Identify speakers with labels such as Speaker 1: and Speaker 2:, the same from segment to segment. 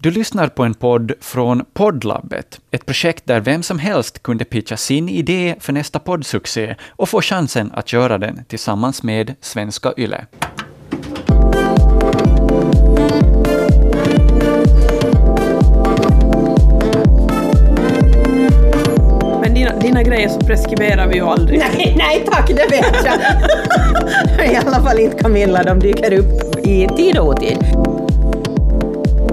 Speaker 1: Du lyssnar på en podd från Poddlabbet, ett projekt där vem som helst kunde pitcha sin idé för nästa poddsuccé och få chansen att göra den tillsammans med Svenska Yle.
Speaker 2: Men dina, dina grejer så preskriberar vi ju aldrig.
Speaker 3: Nej, nej tack, det vet jag. I alla fall inte Camilla, de dyker upp i tid och otid.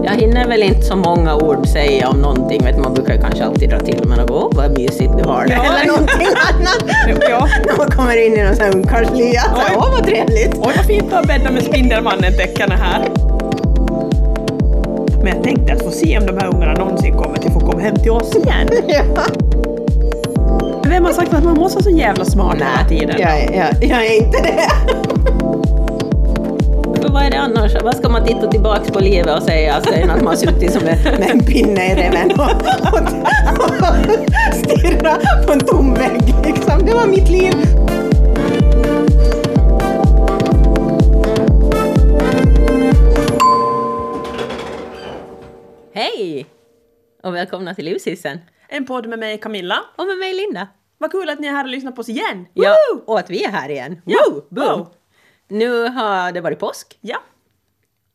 Speaker 3: Jag hinner väl inte så många ord säga om någonting, vet du, man brukar ju kanske alltid dra till med något, åh vad mysigt du har det,
Speaker 2: Ja.
Speaker 3: eller någonting annat.
Speaker 2: Ja.
Speaker 3: När man kommer in i någon sån här ungkarlslya, så här,
Speaker 2: Oj.
Speaker 3: åh vad trevligt.
Speaker 2: Oj vad fint du har bäddat med Spindelmannen-deckarna här. Men jag tänkte att få se om de här ungarna någonsin kommer till få komma hem till oss igen.
Speaker 3: Ja.
Speaker 2: Vem har sagt att man måste vara så jävla smart hela tiden?
Speaker 3: jag, är- jag, jag är inte det. För vad är det annars? Vad ska man titta tillbaks på livet och säga alltså, än att man suttit som en, med en pinne i reven och, och, och stirrat på en tom vägg. Liksom. Det var mitt liv.
Speaker 4: Hej! Och välkomna till Livshissen.
Speaker 2: En podd med mig Camilla.
Speaker 4: Och med mig Linda.
Speaker 2: Vad kul att ni är här och lyssnar på oss igen!
Speaker 4: Ja,
Speaker 2: Woo!
Speaker 4: och att vi är här igen.
Speaker 2: Ja,
Speaker 4: Woo! Boom!
Speaker 2: wow.
Speaker 4: Nu har det varit påsk
Speaker 2: Ja.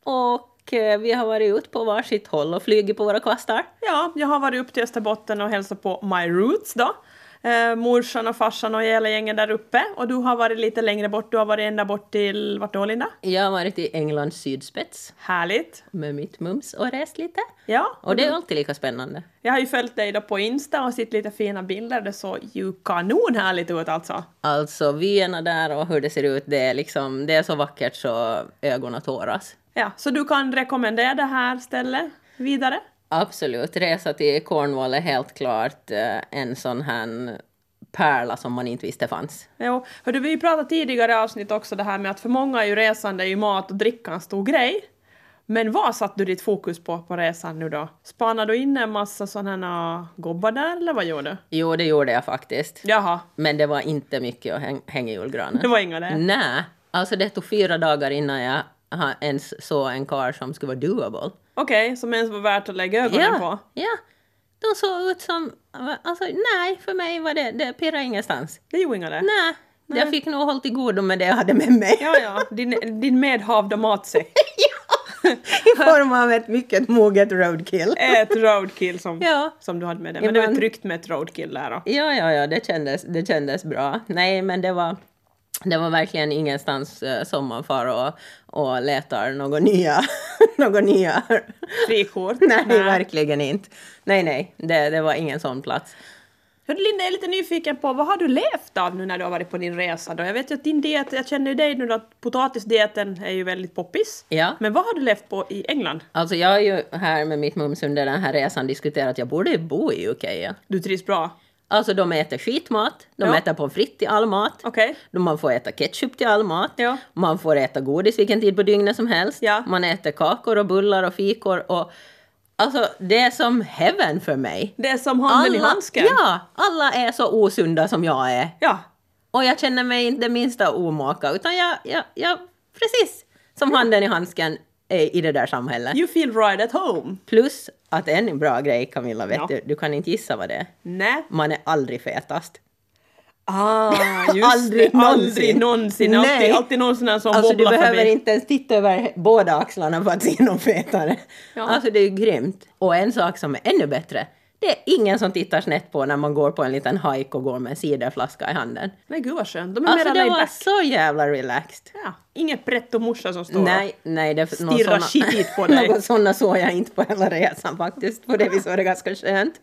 Speaker 4: och eh, vi har varit ut på varsitt håll och flugit på våra kvastar.
Speaker 2: ja, jag har varit upp till Österbotten och hälsat på My Roots då. Eh, morsan och farsan och hela gängen där uppe. Och du har varit lite längre bort, du har varit ända bort till, vart då Linda?
Speaker 4: Jag har varit i Englands sydspets
Speaker 2: Härligt!
Speaker 4: med mitt mums och rest lite.
Speaker 2: Ja,
Speaker 4: Och det är alltid lika spännande.
Speaker 2: Jag har ju följt dig då på Insta och sett lite fina bilder. Det såg ju kanonhärligt ut alltså.
Speaker 4: Alltså vyerna där och hur det ser ut, det är, liksom, det är så vackert så ögonen tåras.
Speaker 2: Ja, så du kan rekommendera det här stället vidare?
Speaker 4: Absolut, resa till Cornwall är helt klart eh, en sån här pärla som man inte visste fanns.
Speaker 2: Jo, hörde, vi har ju pratat tidigare i avsnitt också det här med att för många är ju resande är ju mat och dricka en stor grej. Men vad satte du ditt fokus på på resan nu då? Spanade du in en massa sådana gobbar där eller vad gjorde du?
Speaker 4: Jo, det gjorde jag faktiskt.
Speaker 2: Jaha,
Speaker 4: Men det var inte mycket att häng, hänga i julgranen.
Speaker 2: det var inga det.
Speaker 4: Nej, alltså det tog fyra dagar innan jag ha- ens såg en kar som skulle vara doable.
Speaker 2: Okej, som ens var värt att lägga ögonen på.
Speaker 4: Ja, ja. De såg ut som... Alltså nej, för mig var det... Det pirrade ingenstans.
Speaker 2: Det gjorde inga det.
Speaker 4: Nej, jag fick nog hålla till godo med det jag hade med mig.
Speaker 2: Ja, ja, din, din medhavda matsäck.
Speaker 3: I form av ett mycket moget roadkill.
Speaker 2: ett roadkill som,
Speaker 4: Ja.
Speaker 2: som du hade med dig. Men
Speaker 4: Ibland-
Speaker 2: det var tryggt med ett roadkill där då.
Speaker 4: Ja, ja, ja, det kändes, det kändes bra. Nej, men det var, det var verkligen ingenstans eh, som man far och, och letar någon nya, någon nya.
Speaker 2: Frikort.
Speaker 4: Nej, verkligen inte. Nej, nej, det, det var ingen sån plats.
Speaker 2: Hörru Linda, jag är lite nyfiken på vad har du levt av nu när du har varit på din resa då? Jag vet ju att din diet, jag känner ju dig nu då, att potatisdieten är ju väldigt poppis.
Speaker 4: Ja.
Speaker 2: Men vad har du levt på i England?
Speaker 4: Alltså jag har ju här med mitt mums under den här resan diskuterat att jag borde ju bo i UK. Ja.
Speaker 2: Du trivs bra?
Speaker 4: Alltså de äter skitmat, de
Speaker 2: Ja.
Speaker 4: äter pommes frites till all mat,
Speaker 2: Okej.
Speaker 4: då man får äta ketchup till all mat,
Speaker 2: Ja.
Speaker 4: man får äta godis vilken tid på dygnet som helst,
Speaker 2: Ja.
Speaker 4: man äter kakor och bullar och fikor och alltså det är som heaven för mig.
Speaker 2: Det är som handen i handsken?
Speaker 4: ja, alla är så osunda som jag är
Speaker 2: Ja.
Speaker 4: och jag känner mig inte det minsta omaka utan jag, jag, jag precis som handen i handsken är i det där samhället.
Speaker 2: You feel right at home?
Speaker 4: Plus att en bra grej Camilla, vet
Speaker 2: Ja.
Speaker 4: du, du kan inte gissa vad det är.
Speaker 2: Nej.
Speaker 4: Man är aldrig fetast.
Speaker 2: Ah, just
Speaker 4: Aldrig
Speaker 2: det. Aldrig
Speaker 4: någonsin.
Speaker 2: någonsin.
Speaker 4: Nej.
Speaker 2: Alltid, alltid någon sån där som
Speaker 4: Alltså du
Speaker 2: bobblar
Speaker 4: behöver
Speaker 2: förbi.
Speaker 4: inte ens titta över båda axlarna för att se någon fetare.
Speaker 2: Ja.
Speaker 4: Alltså det är ju grymt. Och en sak som är ännu bättre, det är ingen som tittar snett på när man går på en liten hike och går med en ciderflaska i handen.
Speaker 2: Nej gud vad skönt, de är
Speaker 4: Alltså
Speaker 2: mera
Speaker 4: det
Speaker 2: laid
Speaker 4: var
Speaker 2: back.
Speaker 4: så jävla relaxed.
Speaker 2: Ja. Inget pretto-morsa som står och-
Speaker 4: Nej, nej, det
Speaker 2: Stirrar skitigt på dig.
Speaker 4: Någon sådana såg jag inte på hela resan faktiskt. På det viset var det ganska skönt.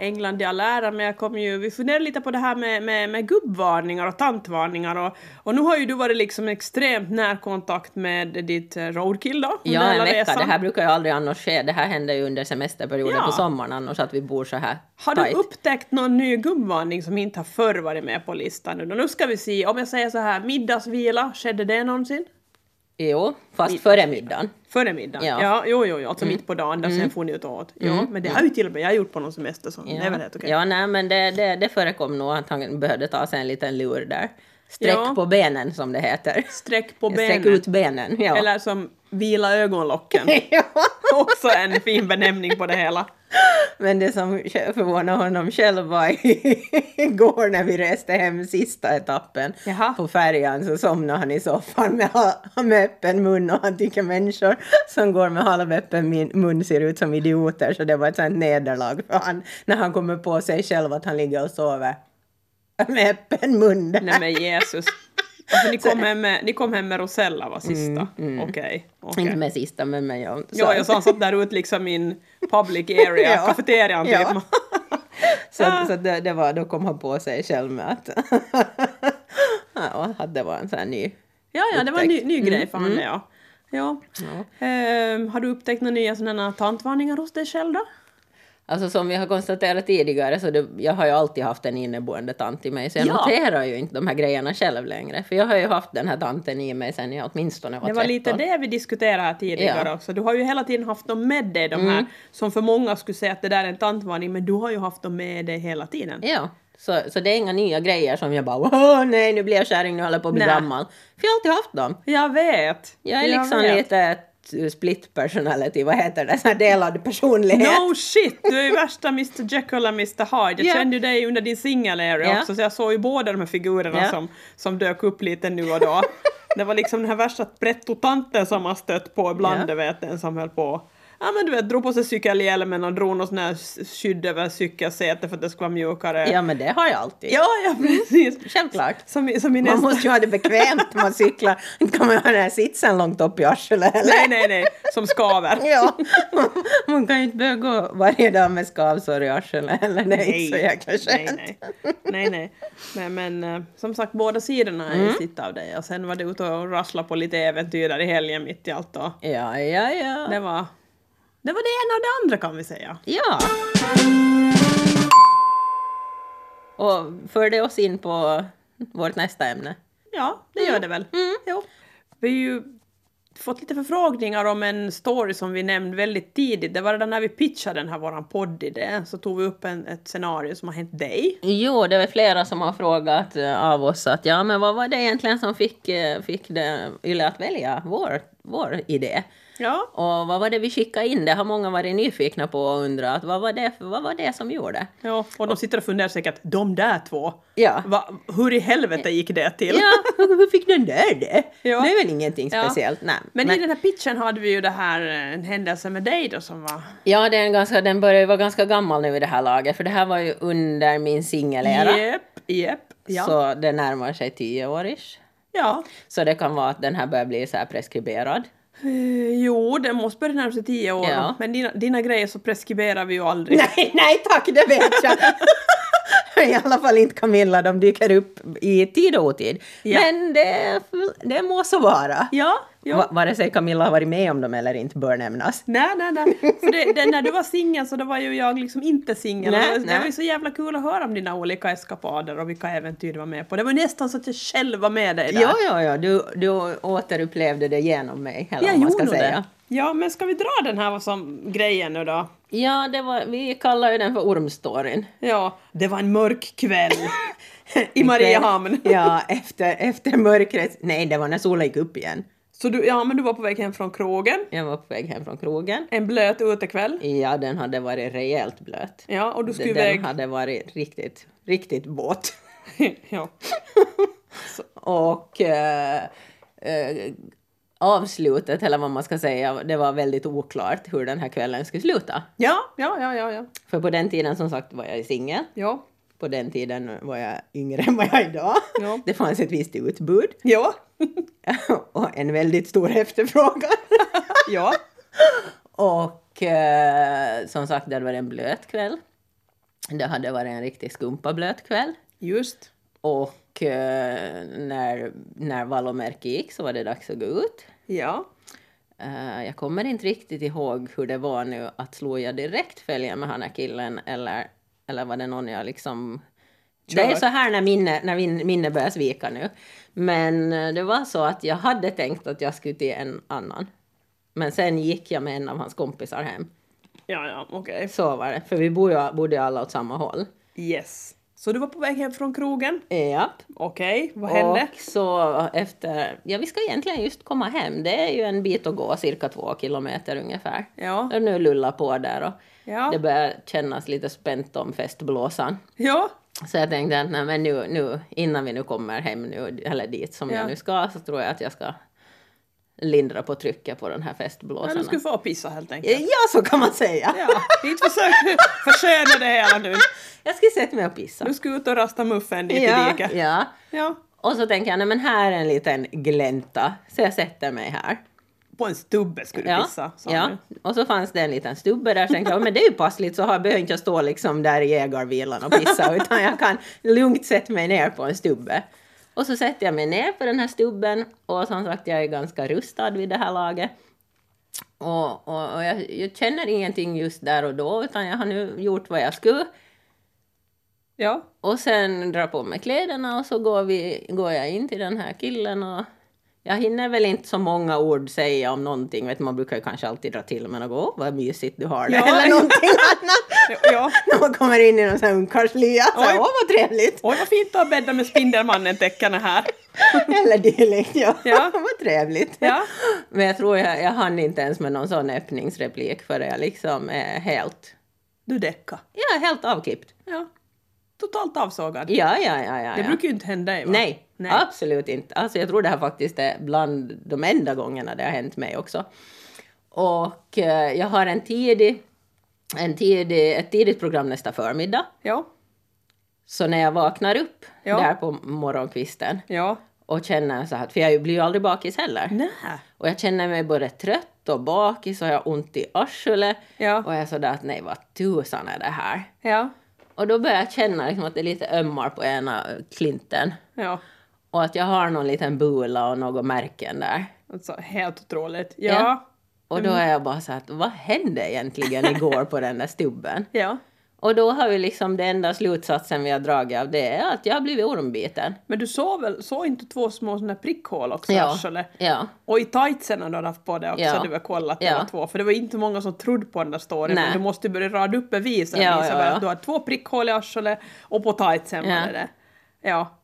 Speaker 2: England i all ära, men jag kom ju, vi funderade lite på det här med, med, med gubbvarningar och tantvarningar och, och nu har ju du varit liksom extremt närkontakt med ditt eh, roadkill då. under
Speaker 4: Ja, en
Speaker 2: hela
Speaker 4: vecka.
Speaker 2: resan.
Speaker 4: Det här brukar ju aldrig annars ske. Det här händer ju under semesterperioden
Speaker 2: Ja.
Speaker 4: på sommaren annars att vi bor så här
Speaker 2: Har du
Speaker 4: tajt.
Speaker 2: upptäckt någon ny gubbvarning som inte har förr varit med på listan nu då? Nu ska vi se, om jag säger så här, middagsvila, skedde det någonsin?
Speaker 4: Jo, fast före middagen.
Speaker 2: Före middagen? Ja.
Speaker 4: Ja. Mm.
Speaker 2: jo, jo, jo, alltså mitt på dagen, där sen får ni ut och åt. Ja, men det har ju till och med jag gjort på någon semester, så det är väl helt okej.
Speaker 4: ja nej, men det, det, det förekom nog att han behövde ta sig en liten lur där. Sträck
Speaker 2: Ja.
Speaker 4: på benen som det heter.
Speaker 2: Sträck på
Speaker 4: Sträck
Speaker 2: benen.
Speaker 4: ut benen, ja.
Speaker 2: Eller som vila ögonlocken.
Speaker 4: ja.
Speaker 2: Också en fin benämning på det hela.
Speaker 4: Men det som förvånade honom själv var igår när vi reste hem sista etappen
Speaker 2: Jaha.
Speaker 4: på färjan så somnade han i soffan med, ha- med öppen mun och han tycker människor som går med halvöppen min- mun ser ut som idioter så det var ett sånt nederlag för han när han kommer på sig själv att han ligger och sover med öppen mun. där.
Speaker 2: Nej men Jesus. Alltså, ni, kom hem med, ni kom hem med Rosella var sista? Okej. okej.
Speaker 4: Mm, Inte med sista men med jag.
Speaker 2: Ja, jag sa han satt där ute liksom i en public area,
Speaker 4: Ja.
Speaker 2: kafeterian typ.
Speaker 4: Ja. Så,
Speaker 2: Ah.
Speaker 4: så det, det var, då kom han på sig själv med att, ja, att det var en sån här ny...
Speaker 2: Ja, ja, det var en ny, ny grej för
Speaker 4: Mm,
Speaker 2: honom, ja. ja. Ehm, har du upptäckt några nya sådana här tantvarningar hos dig själv då?
Speaker 4: Alltså som vi har konstaterat tidigare så det, jag har ju alltid haft en inneboende tant i mig så jag
Speaker 2: Ja.
Speaker 4: noterar ju inte de här grejerna själv längre. För jag har ju haft den här tanten i mig sen jag åtminstone var
Speaker 2: Det var
Speaker 4: 13.
Speaker 2: lite det vi diskuterade här tidigare
Speaker 4: Ja. Mm.
Speaker 2: också. Du har ju hela tiden haft dem med dig, de här som för många skulle säga att det där är en tantvarning, men du har ju haft dem med dig hela tiden.
Speaker 4: Ja, så, så det är inga nya grejer som jag bara åh nej nu blir jag kärring, nu håller jag på att bli
Speaker 2: Nej.
Speaker 4: gammal. För jag har alltid haft dem.
Speaker 2: Jag vet!
Speaker 4: Jag är liksom
Speaker 2: vet.
Speaker 4: lite ett split personality, vad heter det, så här delad personlighet.
Speaker 2: No shit! Du är ju värsta Mr Jekyll och Mr Hyde. Jag
Speaker 4: Ja.
Speaker 2: kände ju dig under din single area
Speaker 4: Ja.
Speaker 2: också, så jag såg ju båda de här figurerna
Speaker 4: Ja.
Speaker 2: som, som dök upp lite nu och då. Det var liksom den här värsta pretto-tanten som man stött på ibland,
Speaker 4: Ja.
Speaker 2: du vet, den som höll på Ja men du vet, drog på sig cykelhjälmen och drog någon sån här s- skydd över cykelsätet för att det skulle vara mjukare.
Speaker 4: Ja men det har jag alltid.
Speaker 2: ja, ja, precis!
Speaker 4: Självklart.
Speaker 2: Som, i- som i
Speaker 4: Man
Speaker 2: nästa...
Speaker 4: måste ju ha det bekvämt när man cyklar. Inte kan man ha den här sitsen långt upp i arslet eller?
Speaker 2: Nej, nej, nej, som skaver.
Speaker 4: Ja, man kan ju inte behöva gå varje dag med skavsår i arslet eller det är inte så jäkla skönt.
Speaker 2: Nej, nej. nej, nej. Men, men eh, som sagt, båda sidorna är
Speaker 4: Mm.
Speaker 2: ju sitt av dig. Och sen var det ute och rassla på lite äventyr där i helgen mitt i allt. Och
Speaker 4: Ja, ja, ja.
Speaker 2: det, var, det var det ena och det andra kan vi säga.
Speaker 4: Ja. Och förde oss in på vårt nästa ämne.
Speaker 2: Ja, det
Speaker 4: Mm.
Speaker 2: gör det väl. Mm, Jo. Vi har ju fått lite förfrågningar om en story som vi nämnde väldigt tidigt. Det var redan när vi pitchade den här våran poddidé så tog vi upp en, ett scenario som har hänt dig.
Speaker 4: Jo, det var flera som har frågat eh, av oss att ja, men vad var det egentligen som fick, eh, fick det Yle att välja vår, vår idé?
Speaker 2: Ja,
Speaker 4: Och vad var det vi skickade in? Det har många varit nyfikna på och undrat vad var det, vad var det som gjorde?
Speaker 2: ja. och de sitter och funderar säkert, de där två,
Speaker 4: Ja.
Speaker 2: va, hur i helvete gick det till?
Speaker 4: Ja, hur hur fick den där det?
Speaker 2: Ja.
Speaker 4: Det är väl ingenting
Speaker 2: Ja.
Speaker 4: speciellt. Nej.
Speaker 2: Men, i den här pitchen hade vi ju det här, eh, en händelse med dig då som var...
Speaker 4: Ja, den, ganska, den börjar ju vara ganska gammal nu i det här laget, för det här var ju under min singelera.
Speaker 2: Jep, jep. Ja.
Speaker 4: Så det närmar sig tio år ish.
Speaker 2: ja.
Speaker 4: Så det kan vara att den här börjar bli så här preskriberad.
Speaker 2: Eh, Jo, det måste börja närma sig tio år.
Speaker 4: Ja.
Speaker 2: Men dina, dina grejer så preskriberar vi ju aldrig.
Speaker 4: Nej, nej tack, det vet jag. I alla fall inte Camilla, de dyker upp i tid och otid.
Speaker 2: Ja.
Speaker 4: Men det, det må så vara.
Speaker 2: Ja, ja.
Speaker 4: Va, vare sig Camilla har varit med om dem eller inte bör nämnas.
Speaker 2: Nej, nej, nej. För det, det, när du var singel så då var ju jag liksom inte singel.
Speaker 4: Nej,
Speaker 2: Det, det var
Speaker 4: nej.
Speaker 2: ju så jävla kul att höra om dina olika eskapader och vilka äventyr du var med på. Det var ju nästan så att jag själv var med dig där.
Speaker 4: Ja, ja, ja, du, du återupplevde det genom mig, eller vad
Speaker 2: jag
Speaker 4: man ska
Speaker 2: gjorde
Speaker 4: säga.
Speaker 2: det. Ja, men ska vi dra den här vad som, grejen nu då?
Speaker 4: Ja, det var, vi kallar ju den för ormstoryn.
Speaker 2: Ja, det var en mörk kväll i Mariehamn.
Speaker 4: ja, efter, efter mörkret. Nej, det var när solen gick upp igen.
Speaker 2: Så du, ja, men du var på väg hem från krogen,
Speaker 4: Jag var på väg hem från krogen.
Speaker 2: en blöt utekväll.
Speaker 4: Ja, den hade varit rejält blöt.
Speaker 2: Ja, och du skulle
Speaker 4: Den
Speaker 2: iväg...
Speaker 4: hade varit riktigt, riktigt våt.
Speaker 2: ja.
Speaker 4: Och eh, eh, avslutet, eller vad man ska säga, det var väldigt oklart hur den här kvällen skulle sluta.
Speaker 2: ja, ja, ja, ja, ja.
Speaker 4: För på den tiden som sagt var jag singel.
Speaker 2: Ja,
Speaker 4: På den tiden var jag yngre än vad jag är idag.
Speaker 2: Ja.
Speaker 4: Det fanns ett visst utbud.
Speaker 2: ja,
Speaker 4: och en väldigt stor efterfrågan.
Speaker 2: ja.
Speaker 4: och eh, som sagt, det hade varit en blöt kväll. Det hade varit en riktig skumpablöt kväll.
Speaker 2: Just.
Speaker 4: Och eh, när, när Valomerki gick så var det dags att gå ut.
Speaker 2: Ja.
Speaker 4: Eh, jag kommer inte riktigt ihåg hur det var nu att slå jag direkt följa med han här killen eller, eller var det någon jag liksom... Det är
Speaker 2: Kör.
Speaker 4: så här när minne, när min- minne börjar svika nu. Men eh, det var så att jag hade tänkt att jag skulle till en annan. Men sen gick jag med en av hans kompisar hem.
Speaker 2: Ja, ja, okej.
Speaker 4: Så var det, för vi bodde ju, bodde ju alla åt samma håll.
Speaker 2: Yes. Så du var på väg hem från krogen?
Speaker 4: Japp.
Speaker 2: Okej, vad hände?
Speaker 4: Och så efter... Ja, vi ska egentligen just komma hem. Det är ju en bit att gå, cirka två kilometer ungefär.
Speaker 2: Ja.
Speaker 4: Och nu lullar på där och
Speaker 2: Ja.
Speaker 4: det börjar kännas lite spänt om festblåsan.
Speaker 2: Ja.
Speaker 4: Så jag tänkte att nej, men nu, nu, innan vi nu kommer hem nu, eller dit som
Speaker 2: Ja.
Speaker 4: jag nu ska, så tror jag att jag ska lindra på trycket på den här
Speaker 2: ja,
Speaker 4: festblåsan.
Speaker 2: du skulle få pissa helt enkelt.
Speaker 4: Ja, så kan man säga.
Speaker 2: Ja, inte försök försköna det hela nu.
Speaker 4: Jag skulle sätta mig och pissa.
Speaker 2: Du ska ut och rasta muffen dit i
Speaker 4: ja,
Speaker 2: diket.
Speaker 4: ja.
Speaker 2: Ja.
Speaker 4: Och så tänker jag, nej men här är en liten glänta, så jag sätter mig här.
Speaker 2: På en stubbe skulle du
Speaker 4: Ja,
Speaker 2: pissa, sa
Speaker 4: ja.
Speaker 2: du.
Speaker 4: Och så fanns det en liten stubbe där, så tänkte jag, men det är ju passligt, så har- behöver inte jag stå liksom där i ägarvilan och pissa, utan jag kan lugnt sätta mig ner på en stubbe. Och så sätter jag mig ner på den här stubben, och som sagt, jag är ganska rustad vid det här laget. Och, och, och jag, jag känner ingenting just där och då, utan jag har nu gjort vad jag skulle.
Speaker 2: Ja.
Speaker 4: Och sen drar på mig kläderna och så går, vi, går jag in till den här killen och jag hinner väl inte så många ord säga om någonting. Vet, man brukar ju kanske alltid dra till men och gå, "Åh, vad mysigt du har det.
Speaker 2: Ja.
Speaker 4: Eller någonting annat.
Speaker 2: ja.
Speaker 5: När man kommer in i någon sån här ungkarlslya, så
Speaker 2: Oj.
Speaker 5: åh vad trevligt!
Speaker 2: Oj, vad fint du har bäddat med Spindelmannen-täckarna här.
Speaker 5: Eller dylikt, ja.
Speaker 2: Ja.
Speaker 5: vad trevligt!
Speaker 2: Ja.
Speaker 4: Men jag tror jag, jag hann inte ens med någon sån öppningsreplik för jag liksom är helt,
Speaker 2: Du däckade.
Speaker 4: jag är helt avklippt.
Speaker 2: Ja. Totalt avsågad.
Speaker 4: Ja, ja, ja, ja.
Speaker 2: Det
Speaker 4: ja.
Speaker 2: brukar ju inte hända dig, va?
Speaker 4: Nej,
Speaker 2: Nej.
Speaker 4: absolut inte. Alltså jag tror det här faktiskt är bland de enda gångerna det har hänt mig också. Och eh, jag har en tidig, en tidig, ett tidigt program nästa förmiddag.
Speaker 2: Ja.
Speaker 4: Så när jag vaknar upp
Speaker 2: Ja.
Speaker 4: där på morgonkvisten
Speaker 2: Ja.
Speaker 4: och känner så här, för jag blir ju aldrig bakis heller.
Speaker 2: Nej.
Speaker 4: Och jag känner mig både trött och bakis och jag har ont i arslet.
Speaker 2: Ja.
Speaker 4: Och jag är sådär att nej, vad tusan är det här?
Speaker 2: Ja.
Speaker 4: Och då börjar jag känna liksom att det är lite ömmar på ena klinten.
Speaker 2: Ja.
Speaker 4: Och att jag har någon liten bula och några märken där.
Speaker 2: Alltså, helt otroligt. Ja.
Speaker 4: Ja. Och då är jag bara så att vad hände egentligen igår på den där stubben?
Speaker 2: Ja.
Speaker 4: Och då har vi liksom den enda slutsatsen vi har dragit av det är att jag har blivit ormbiten.
Speaker 2: Men du såg väl, såg inte två små sådana prickhål också i
Speaker 4: Ja.
Speaker 2: arslet?
Speaker 4: ja.
Speaker 2: Och i tightsen hade du haft på dig också,
Speaker 4: Ja.
Speaker 2: du har kollat
Speaker 4: Ja.
Speaker 2: båda två. För det var inte många som trodde på den där storyn,
Speaker 4: Nej.
Speaker 2: men du måste ju börja rada upp bevisen.
Speaker 4: Ja,
Speaker 2: Lisa,
Speaker 4: ja,
Speaker 2: bara
Speaker 4: ja.
Speaker 2: Att du har två prickhål i arslet och på tightsen
Speaker 4: Ja.
Speaker 2: var det det. Ja.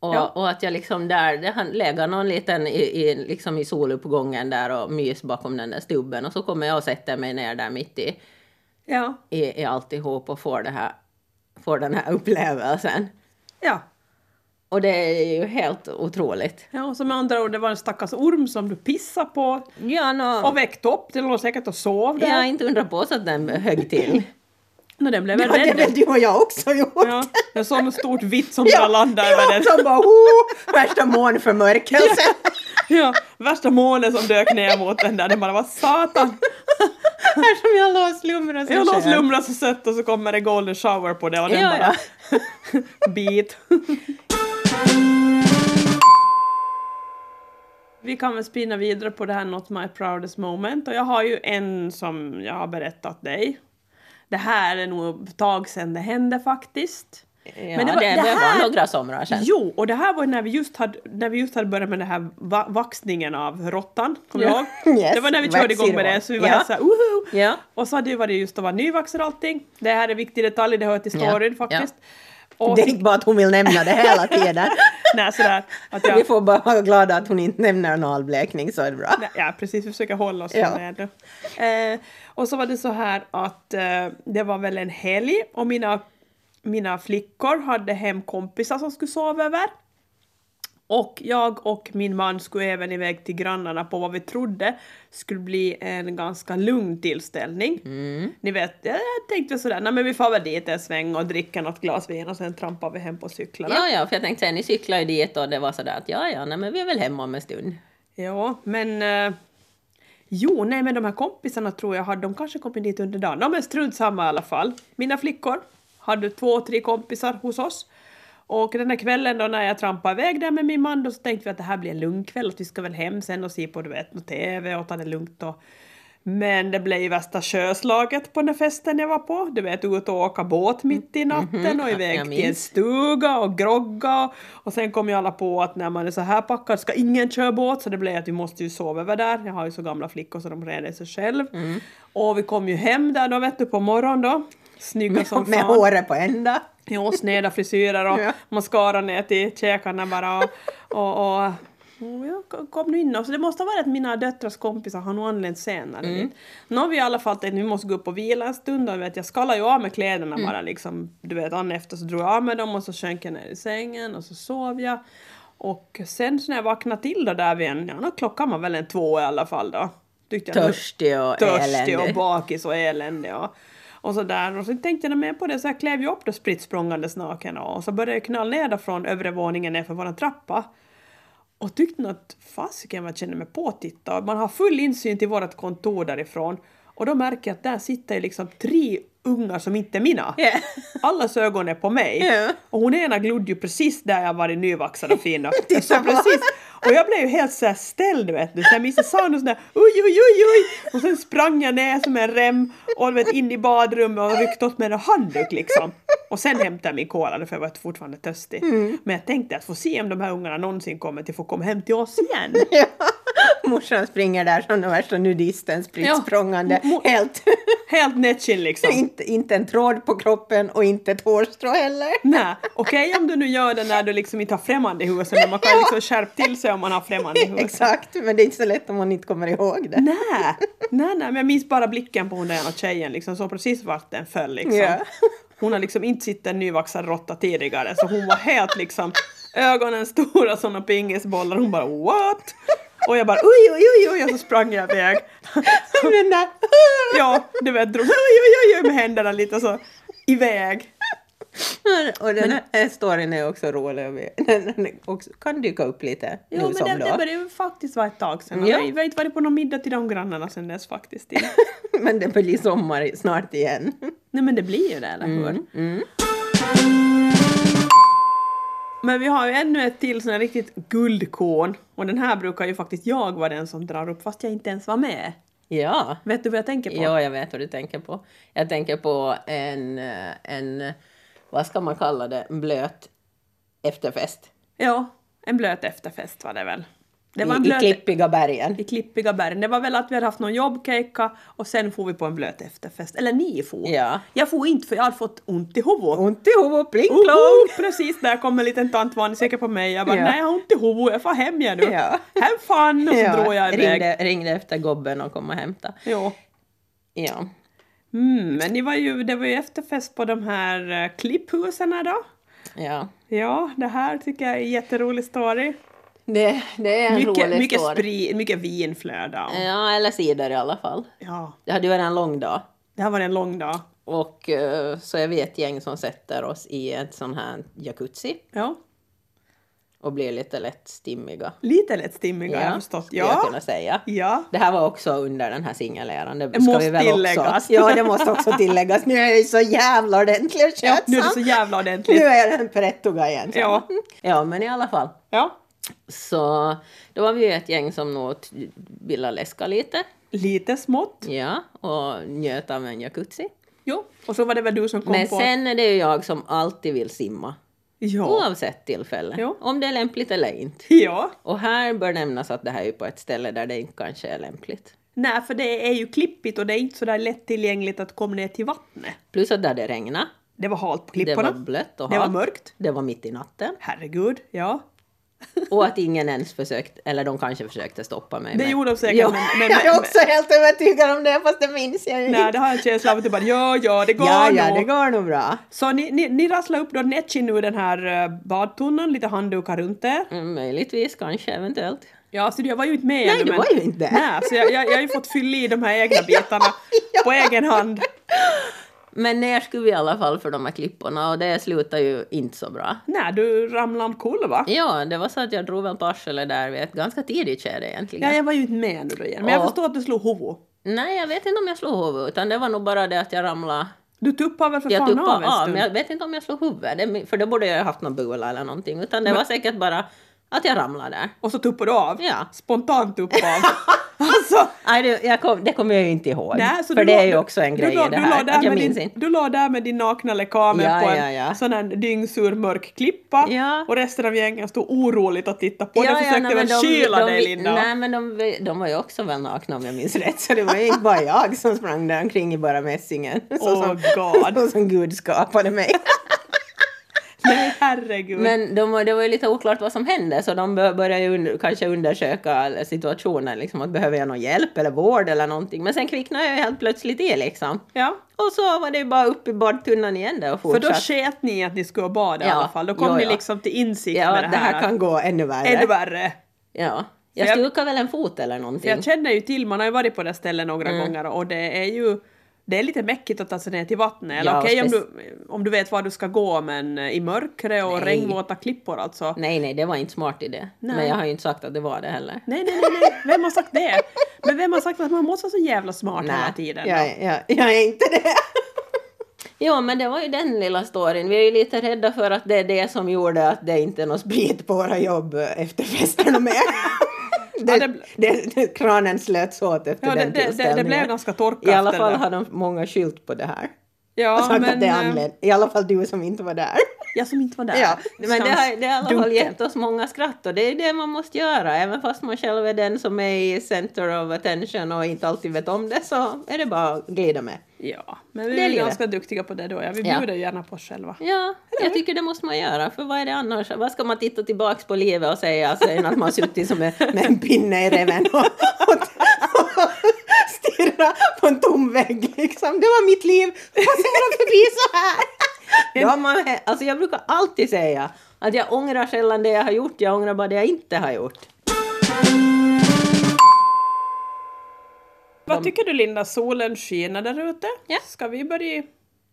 Speaker 4: Och,
Speaker 2: Ja.
Speaker 4: och att jag liksom där, det hann lägga någon liten i, i, liksom i soluppgången där och mys bakom den där stubben. Och så kommer jag och sätter mig ner där mitt i,
Speaker 2: Ja.
Speaker 4: i, i alltihop och får, det här, får den här upplevelsen.
Speaker 2: Ja.
Speaker 4: Och det är ju helt otroligt.
Speaker 2: Ja, och så med andra ord, det var en stackars orm som du pissade på
Speaker 4: Ja, nå-
Speaker 2: och väckte upp. Den låg säkert och sov där.
Speaker 4: jag har inte undrat på så att den högg till.
Speaker 2: Nå, den blev väl
Speaker 5: Ja, det är
Speaker 2: rädd.
Speaker 5: väl du och jag också gjort!
Speaker 2: Ja, jag såg något stort vitt som bara landade över den.
Speaker 5: som bara oh, värsta månförmörkelsen.
Speaker 2: Ja, värsta molnet som dök ner mot den där, den bara var satan.
Speaker 5: Här som jag låg och slumrade.
Speaker 2: Jag låg och slumrade så sött och så kommer det golden shower på det och den
Speaker 4: Ja,
Speaker 2: bara bit. Vi kan väl spinna vidare på det här Not My Proudest Moment och jag har ju en som jag har berättat dig. Det här är nog ett tag sedan det hände faktiskt.
Speaker 4: Ja,
Speaker 2: Men det
Speaker 4: det, var,
Speaker 2: var-
Speaker 4: det,
Speaker 2: det här-
Speaker 4: var några somrar sedan.
Speaker 2: Jo, och det här var när vi just hade, när vi just hade börjat med den här va- vaxningen av råttan, kommer
Speaker 4: Ja.
Speaker 2: du ihåg?
Speaker 5: Yes,
Speaker 2: det var när vi körde
Speaker 5: vax
Speaker 2: igång med
Speaker 5: i
Speaker 2: det,
Speaker 5: rå.
Speaker 2: så vi var
Speaker 4: Ja.
Speaker 2: helt såhär woho!
Speaker 4: Ja.
Speaker 2: Och så hade ju varit just att vara nyvaxad och allting. Det här är viktig detalj, det hör till
Speaker 4: Ja.
Speaker 2: storyn
Speaker 4: Ja.
Speaker 2: faktiskt. Och
Speaker 5: Det är inte bara att hon vill nämna det hela tiden.
Speaker 2: nej, sådär, att
Speaker 5: Vi
Speaker 2: jag,
Speaker 5: får bara vara glada att hon inte nämner nalblekning så är det bra.
Speaker 2: nej, ja, precis, vi försöker hålla oss
Speaker 5: Ja.
Speaker 2: från det nu. Eh, och så var det så här att eh, det var väl en helg och mina, mina flickor hade hem kompisar som skulle sova över. Och jag och min man skulle även iväg till grannarna på vad vi trodde skulle bli en ganska lugn tillställning. Ni vet, jag tänkte sådär, nej men vi far väl dit en sväng och dricker något glas vin och sen trampar vi hem på cyklarna.
Speaker 4: Ja, ja, för jag tänkte säga, ni cyklar ju dit och det var sådär att ja, ja, nej, men vi är väl hemma om en stund.
Speaker 2: Ja, men... Eh, jo, nej men de här kompisarna tror jag, hade, de kanske kom dit under dagen. De är strunt samma i alla fall. Mina flickor hade två, tre kompisar hos oss. Och den här kvällen då när jag trampade iväg där med min man då så tänkte vi att det här blir en lugn kväll, att vi ska väl hem sen och se på du vet, något TV och ta det lugnt och... Men det blev ju värsta sjöslaget på den här festen jag var på. Du vet, ut och åka båt mitt i natten och iväg
Speaker 4: Mm, mhm. jag
Speaker 2: till en
Speaker 4: minns.
Speaker 2: stuga och grogga. Och sen kom ju alla på att när man är så här packad ska ingen köra båt så det blev att vi måste ju sova över där. Jag har ju så gamla flickor så de reder sig själv.
Speaker 5: Mm.
Speaker 2: Och vi kom ju hem där då vet du på morgonen då. Snygga som
Speaker 5: Med
Speaker 2: fan.
Speaker 5: håret på ända.
Speaker 2: Jo, sneda frisyrer och
Speaker 4: Ja.
Speaker 2: mascara ner till käkarna bara och, och, och Mm, ja, k- kom nu in. Så det måste ha varit att mina döttrars kompisar har nog anlänt senare. Mm. Nu har vi i alla fall tänkt att vi måste gå upp och vila en stund. Och vet, jag skallade ju av med kläderna bara liksom. Du vet, dagen efter så drog jag av med dem och så sjönk jag ner i sängen och så sov jag. Och sen så när jag vaknade till då där vid en, ja, då klockan var väl en två i alla fall då. Tyckte jag, nu-
Speaker 4: Törstig och
Speaker 2: törstig och
Speaker 4: eländig.
Speaker 2: bakis och eländig och, och sådär. Och så tänkte jag mer på det så jag klev ju upp då spritt språngandes naken och, och så började jag knalla ner från övre våningen ner för våran trappa. Och tyckte nog att fasiken vad jag kände mig påtittad. Och Man har full insyn till vårt kontor därifrån. Och då märker jag att där sitter ju liksom tre ungar som inte är mina.
Speaker 4: Ja.
Speaker 2: Allas ögon är på mig.
Speaker 4: Ja.
Speaker 2: Och hon ena glodde ju precis där jag varit nyvaxad och fin. Och jag
Speaker 4: Titta
Speaker 2: såg
Speaker 4: på.
Speaker 2: precis. Och jag blev ju helt så här ställd vet du. Så jag minns jag sa något sånt där oj oj oj oj. Och sen sprang jag ner som en rem och du vet, in i badrummet och ryckte åt mig en handduk liksom. Och sen hämtade jag min cola för jag var fortfarande törstig.
Speaker 4: Mm.
Speaker 2: Men jag tänkte att få se om de här ungarna någonsin kommer till få komma hem till oss igen.
Speaker 4: Ja. Morsan springer där som den värsta nudisten, spritt
Speaker 2: Ja.
Speaker 4: språngande.
Speaker 2: Mo-
Speaker 4: Helt,
Speaker 2: Helt nätskinn liksom.
Speaker 4: inte, inte en tråd på kroppen och inte ett hårstrå heller.
Speaker 2: Nej, okej om du nu gör det när du liksom inte har främmande i huset men man kan liksom skärpa till sig om man har främmande i huset.
Speaker 4: Exakt, men det är inte så lätt om man inte kommer ihåg det.
Speaker 2: Nej, nej, nej, men jag minns bara blicken på hon där ena tjejen liksom, så precis vart den föll liksom.
Speaker 4: Ja.
Speaker 2: Hon har liksom inte sett en nyvaxad råtta tidigare så hon var helt liksom ögonen stora som några pingisbollar hon bara what? Och jag bara oj oj oj oj och så sprang jag iväg.
Speaker 4: Den där,
Speaker 2: Ja, du vet drog oj oj oj oj med händerna lite så iväg.
Speaker 4: och den här storyn är också rolig. och vi- Den den också, kan dyka upp lite
Speaker 2: Jo
Speaker 4: nu
Speaker 2: men
Speaker 4: som
Speaker 2: det,
Speaker 4: då.
Speaker 2: det började ju faktiskt vara ett tag sedan.
Speaker 4: Ja.
Speaker 2: Ja. Jag har inte varit på någon middag till de grannarna sedan dess faktiskt.
Speaker 4: men det blir sommar snart igen.
Speaker 2: Nej men det blir ju det, eller hur?
Speaker 4: Mm.
Speaker 2: Men vi har ju ännu ett till sån här riktigt guldkorn. Och den här brukar ju faktiskt jag vara den som drar upp fast jag inte ens var med.
Speaker 4: Ja.
Speaker 2: Vet du vad jag tänker på?
Speaker 4: Ja, jag vet vad du tänker på. Jag tänker på en, eh, en vad ska man kalla det, en blöt efterfest.
Speaker 2: Ja, en blöt efterfest var det väl. Det var
Speaker 4: I,
Speaker 2: en
Speaker 4: I
Speaker 2: blöt...
Speaker 4: klippiga bergen.
Speaker 2: I klippiga bergen. Det var väl att vi hade haft någon jobbkejka och sen får vi på en blöt efterfest. Eller ni får.
Speaker 4: Ja.
Speaker 2: Jag får inte för jag hade fått ont i huvudet.
Speaker 4: Ont i huvudet, pling plong!
Speaker 2: Plong! Precis där kom en liten tant säker på mig. Jag bara,
Speaker 4: Ja.
Speaker 2: nej jag har ont i huvudet, jag får hem jag nu.
Speaker 4: Ja.
Speaker 2: Have fun! Och så drog jag iväg.
Speaker 4: ringde, ringde efter gobben och kom och hämta.
Speaker 2: Ja.
Speaker 4: Ja.
Speaker 2: Mm, men det var, ju, det var ju efterfest på de här eh, klipphusen då.
Speaker 4: ja.
Speaker 2: Ja, det här tycker jag är en jätterolig story.
Speaker 4: Det, det är en
Speaker 2: Mycket,
Speaker 4: rolig
Speaker 2: mycket,
Speaker 4: story. Eh.
Speaker 2: spri, mycket vinflöde. Och,
Speaker 4: Ja, eller cider i alla fall.
Speaker 2: ja,
Speaker 4: Det hade ju varit en lång dag.
Speaker 2: det här var en lång dag.
Speaker 4: Och eh, så är vi ett gäng som sätter oss i ett sån här jacuzzi
Speaker 2: Ja,
Speaker 4: och blir lite lätt stimmiga.
Speaker 2: lite lätt stimmiga har jag förstått.
Speaker 4: skulle jag
Speaker 2: Ja,
Speaker 4: kunna säga.
Speaker 2: ja.
Speaker 4: Det här var också under den här singeläran. Det ska
Speaker 2: måste
Speaker 4: vi väl
Speaker 2: tilläggas.
Speaker 4: Också. Ja, det måste också tilläggas. Nu är jag ju så jävla ordentlig och
Speaker 2: ja.
Speaker 4: skötsam.
Speaker 2: Nu är det så jävla
Speaker 4: Nu
Speaker 2: ordentligt.
Speaker 4: är jag den prettoga igen. så.
Speaker 2: Ja.
Speaker 4: ja, men i alla fall.
Speaker 2: Ja.
Speaker 4: Så då var vi ju ett gäng som nog t- ville läska lite.
Speaker 2: Lite smått.
Speaker 4: Ja, och njöt av en jacuzzi.
Speaker 2: Jo. Och så var det väl du som kom
Speaker 4: Men
Speaker 2: på...
Speaker 4: sen är det ju jag som alltid vill simma.
Speaker 2: Ja.
Speaker 4: Oavsett tillfälle.
Speaker 2: Ja.
Speaker 4: Om det är lämpligt eller inte.
Speaker 2: Ja.
Speaker 4: Och här bör nämnas att det här är ju på ett ställe där det inte kanske är lämpligt.
Speaker 2: Nej, för det är ju klippigt och det är inte så där lättillgängligt att komma ner till vattnet.
Speaker 4: Plus att där det regnade.
Speaker 2: Det var halt på
Speaker 4: Det
Speaker 2: klipporna.
Speaker 4: var blött och
Speaker 2: Det var
Speaker 4: halt.
Speaker 2: mörkt.
Speaker 4: Det var mitt i natten.
Speaker 2: Herregud, ja.
Speaker 4: Och att ingen ens försökte, eller de kanske försökte stoppa mig.
Speaker 2: Det
Speaker 4: men-
Speaker 2: gjorde de säkert,
Speaker 4: Ja,
Speaker 2: men- men-
Speaker 4: jag
Speaker 2: men-
Speaker 4: är också helt övertygad om det, fast det minns jag ju
Speaker 2: Nej,
Speaker 4: inte.
Speaker 2: det har jag en känsla av att du bara ja, ja, det går
Speaker 4: Ja,
Speaker 2: nog.
Speaker 4: ja, det går nog bra.
Speaker 2: Så ni, ni, ni rasslar upp då Netchin ur den här eh, badtunnan, lite handdukar runt er.
Speaker 4: Mm, Möjligtvis, kanske, eventuellt.
Speaker 2: Ja, så jag var ju inte med
Speaker 4: Nej,
Speaker 2: ännu,
Speaker 4: du
Speaker 2: men-
Speaker 4: var ju inte.
Speaker 2: Nej, så jag, jag, jag har ju fått fylla i de här egna bitarna
Speaker 4: ja.
Speaker 2: på egen hand.
Speaker 4: Men ner skulle vi i alla fall för de här klipporna och det slutade ju inte så bra.
Speaker 2: Nej, du ramlade omkull va?
Speaker 4: Ja, det var så att jag drog väl på arslet där vid ett ganska tidigt skede egentligen.
Speaker 2: Ja, jag var ju inte med ännu då igen, men jag
Speaker 4: Ja.
Speaker 2: förstår att du slog huvudet.
Speaker 4: Nej, jag vet inte om jag slog huvudet, utan det var nog bara det att jag ramlade.
Speaker 2: Du tuppade väl för
Speaker 4: Jag
Speaker 2: fan
Speaker 4: tuppade
Speaker 2: av en
Speaker 4: av,
Speaker 2: stund?
Speaker 4: men jag vet inte om jag slog huvudet, det- för då borde jag ju haft någon bula eller någonting, utan det var säkert bara att jag ramlade där.
Speaker 2: Och så tuppade du av?
Speaker 4: Ja.
Speaker 2: Spontant tuppade av? alltså!
Speaker 4: Nej, det, jag kom, det kommer jag ju inte ihåg.
Speaker 2: Nej, så
Speaker 4: för
Speaker 2: du
Speaker 4: det
Speaker 2: la-
Speaker 4: är ju också en
Speaker 2: du
Speaker 4: grej
Speaker 2: la-
Speaker 4: i det
Speaker 2: du la
Speaker 4: här.
Speaker 2: där
Speaker 4: Att jag
Speaker 2: med
Speaker 4: minns
Speaker 2: din,
Speaker 4: inte.
Speaker 2: Du la där med din nakna lekamen
Speaker 4: Ja,
Speaker 2: på en
Speaker 4: ja, ja.
Speaker 2: sån här dyngsur mörk klippa
Speaker 4: Ja.
Speaker 2: och resten av gängen stod oroligt och tittade på. den försökte
Speaker 4: nej, men
Speaker 2: väl kyla
Speaker 4: de,
Speaker 2: dig
Speaker 4: de,
Speaker 2: Linda?
Speaker 4: Nej, men de, de var ju också väl nakna om jag minns rätt. Så det var ju inte bara jag som sprang där omkring i bara mässingen. Alltså, Så
Speaker 2: Åh,
Speaker 4: som,
Speaker 2: God.
Speaker 4: Så som Gud skapade mig.
Speaker 2: herregud.
Speaker 4: Men de, var- det var ju lite oklart vad som hände så de bör- började ju under, kanske undersöka situationen, liksom att behöver jag någon hjälp eller vård eller någonting. Men sen kvicknade jag helt plötsligt i liksom.
Speaker 2: Ja.
Speaker 4: Och så var det ju bara upp i badtunnan igen där och
Speaker 2: För
Speaker 4: fortsatte.
Speaker 2: då sket ni i att ni skulle bada i
Speaker 4: Ja,
Speaker 2: alla fall. Då kom
Speaker 4: jo,
Speaker 2: ni
Speaker 4: ja.
Speaker 2: liksom till insikt
Speaker 4: Ja,
Speaker 2: med
Speaker 4: det
Speaker 2: det
Speaker 6: Det
Speaker 2: här.
Speaker 6: här kan gå ännu värre.
Speaker 2: Ännu värre.
Speaker 4: Ja. Jag
Speaker 2: Så jag-
Speaker 4: stukade väl en fot eller någonting.
Speaker 6: Mm.
Speaker 2: Jag känner ju till, man har ju varit på det stället några gånger och det är ju det är lite mäckigt att ta sig ner till vattnet. Eller
Speaker 4: Ja,
Speaker 2: okej om,
Speaker 4: spec-
Speaker 2: du, om du vet var du ska gå men eh, i mörkret och
Speaker 4: Nej.
Speaker 2: regnvåta klippor alltså.
Speaker 4: Nej, nej, det var inte smart idé.
Speaker 2: Nej.
Speaker 4: Men jag har ju inte sagt att det var det heller.
Speaker 2: Nej, nej, nej, nej. vem har sagt det? Men vem har sagt att man måste vara så jävla smart hela tiden?
Speaker 6: jag, är- jag, jag är inte det.
Speaker 4: Jo, men det var ju den lilla storyn. Vi är ju lite rädda för att det är det som gjorde att det inte är något sprit.
Speaker 6: Bit på våra jobb efter festerna med. Det,
Speaker 2: Ja, det-
Speaker 6: det, det, kranen slöts åt efter
Speaker 2: Ja, det,
Speaker 6: den
Speaker 2: det, det, det
Speaker 6: tillställningen.
Speaker 2: blev ganska torkat.
Speaker 6: I alla fall
Speaker 2: ställe.
Speaker 6: har de många skylt på det här.
Speaker 2: ja,
Speaker 6: Sagt att det är
Speaker 2: eh,
Speaker 6: anled- I alla fall du som inte var där.
Speaker 2: Jag som inte var där.
Speaker 6: Ja,
Speaker 4: Men det har, det har i alla fall gett oss många skratt och det är ju det man måste göra. Även fast man själv är den som är i center of attention och inte alltid vet om det så är det bara att glida med.
Speaker 2: Ja, men vi
Speaker 4: Det är
Speaker 2: är
Speaker 4: livet.
Speaker 2: ganska duktiga på det då. Ja. Vi
Speaker 4: Ja.
Speaker 2: bjuder ju gärna på oss själva.
Speaker 4: Ja, jag tycker det måste man göra. För vad är det annars? Vad ska man titta tillbaks på livet och säga alltså, än att man har suttit som en...
Speaker 6: Med en pinne i reven och, och, och stirra på en tom vägg liksom. Det var mitt liv. Passera förbi så här.
Speaker 4: Ja, man, alltså, jag brukar alltid säga att jag ångrar sällan det jag har gjort, jag ångrar bara det jag inte har gjort.
Speaker 2: Vad tycker du Linda, solen skiner där ute?
Speaker 4: Ja.
Speaker 2: Ska vi börja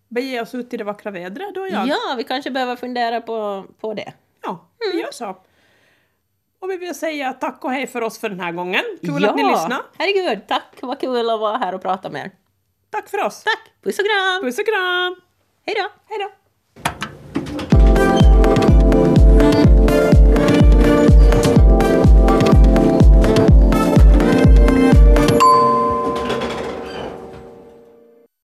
Speaker 2: bege oss ut i det vackra vädret då? Ja,
Speaker 4: Ja, vi kanske behöver fundera på, på det.
Speaker 2: ja vi gör så. Och vi vill säga tack och hej för oss för den här gången. Kul
Speaker 4: ja.
Speaker 2: att ni lyssnade.
Speaker 4: Herregud, tack! Vad kul att vara här och prata med er.
Speaker 2: Tack för oss.
Speaker 4: Tack! Puss och kram!
Speaker 2: Puss och kram!
Speaker 4: Hej då!
Speaker 2: Hej då!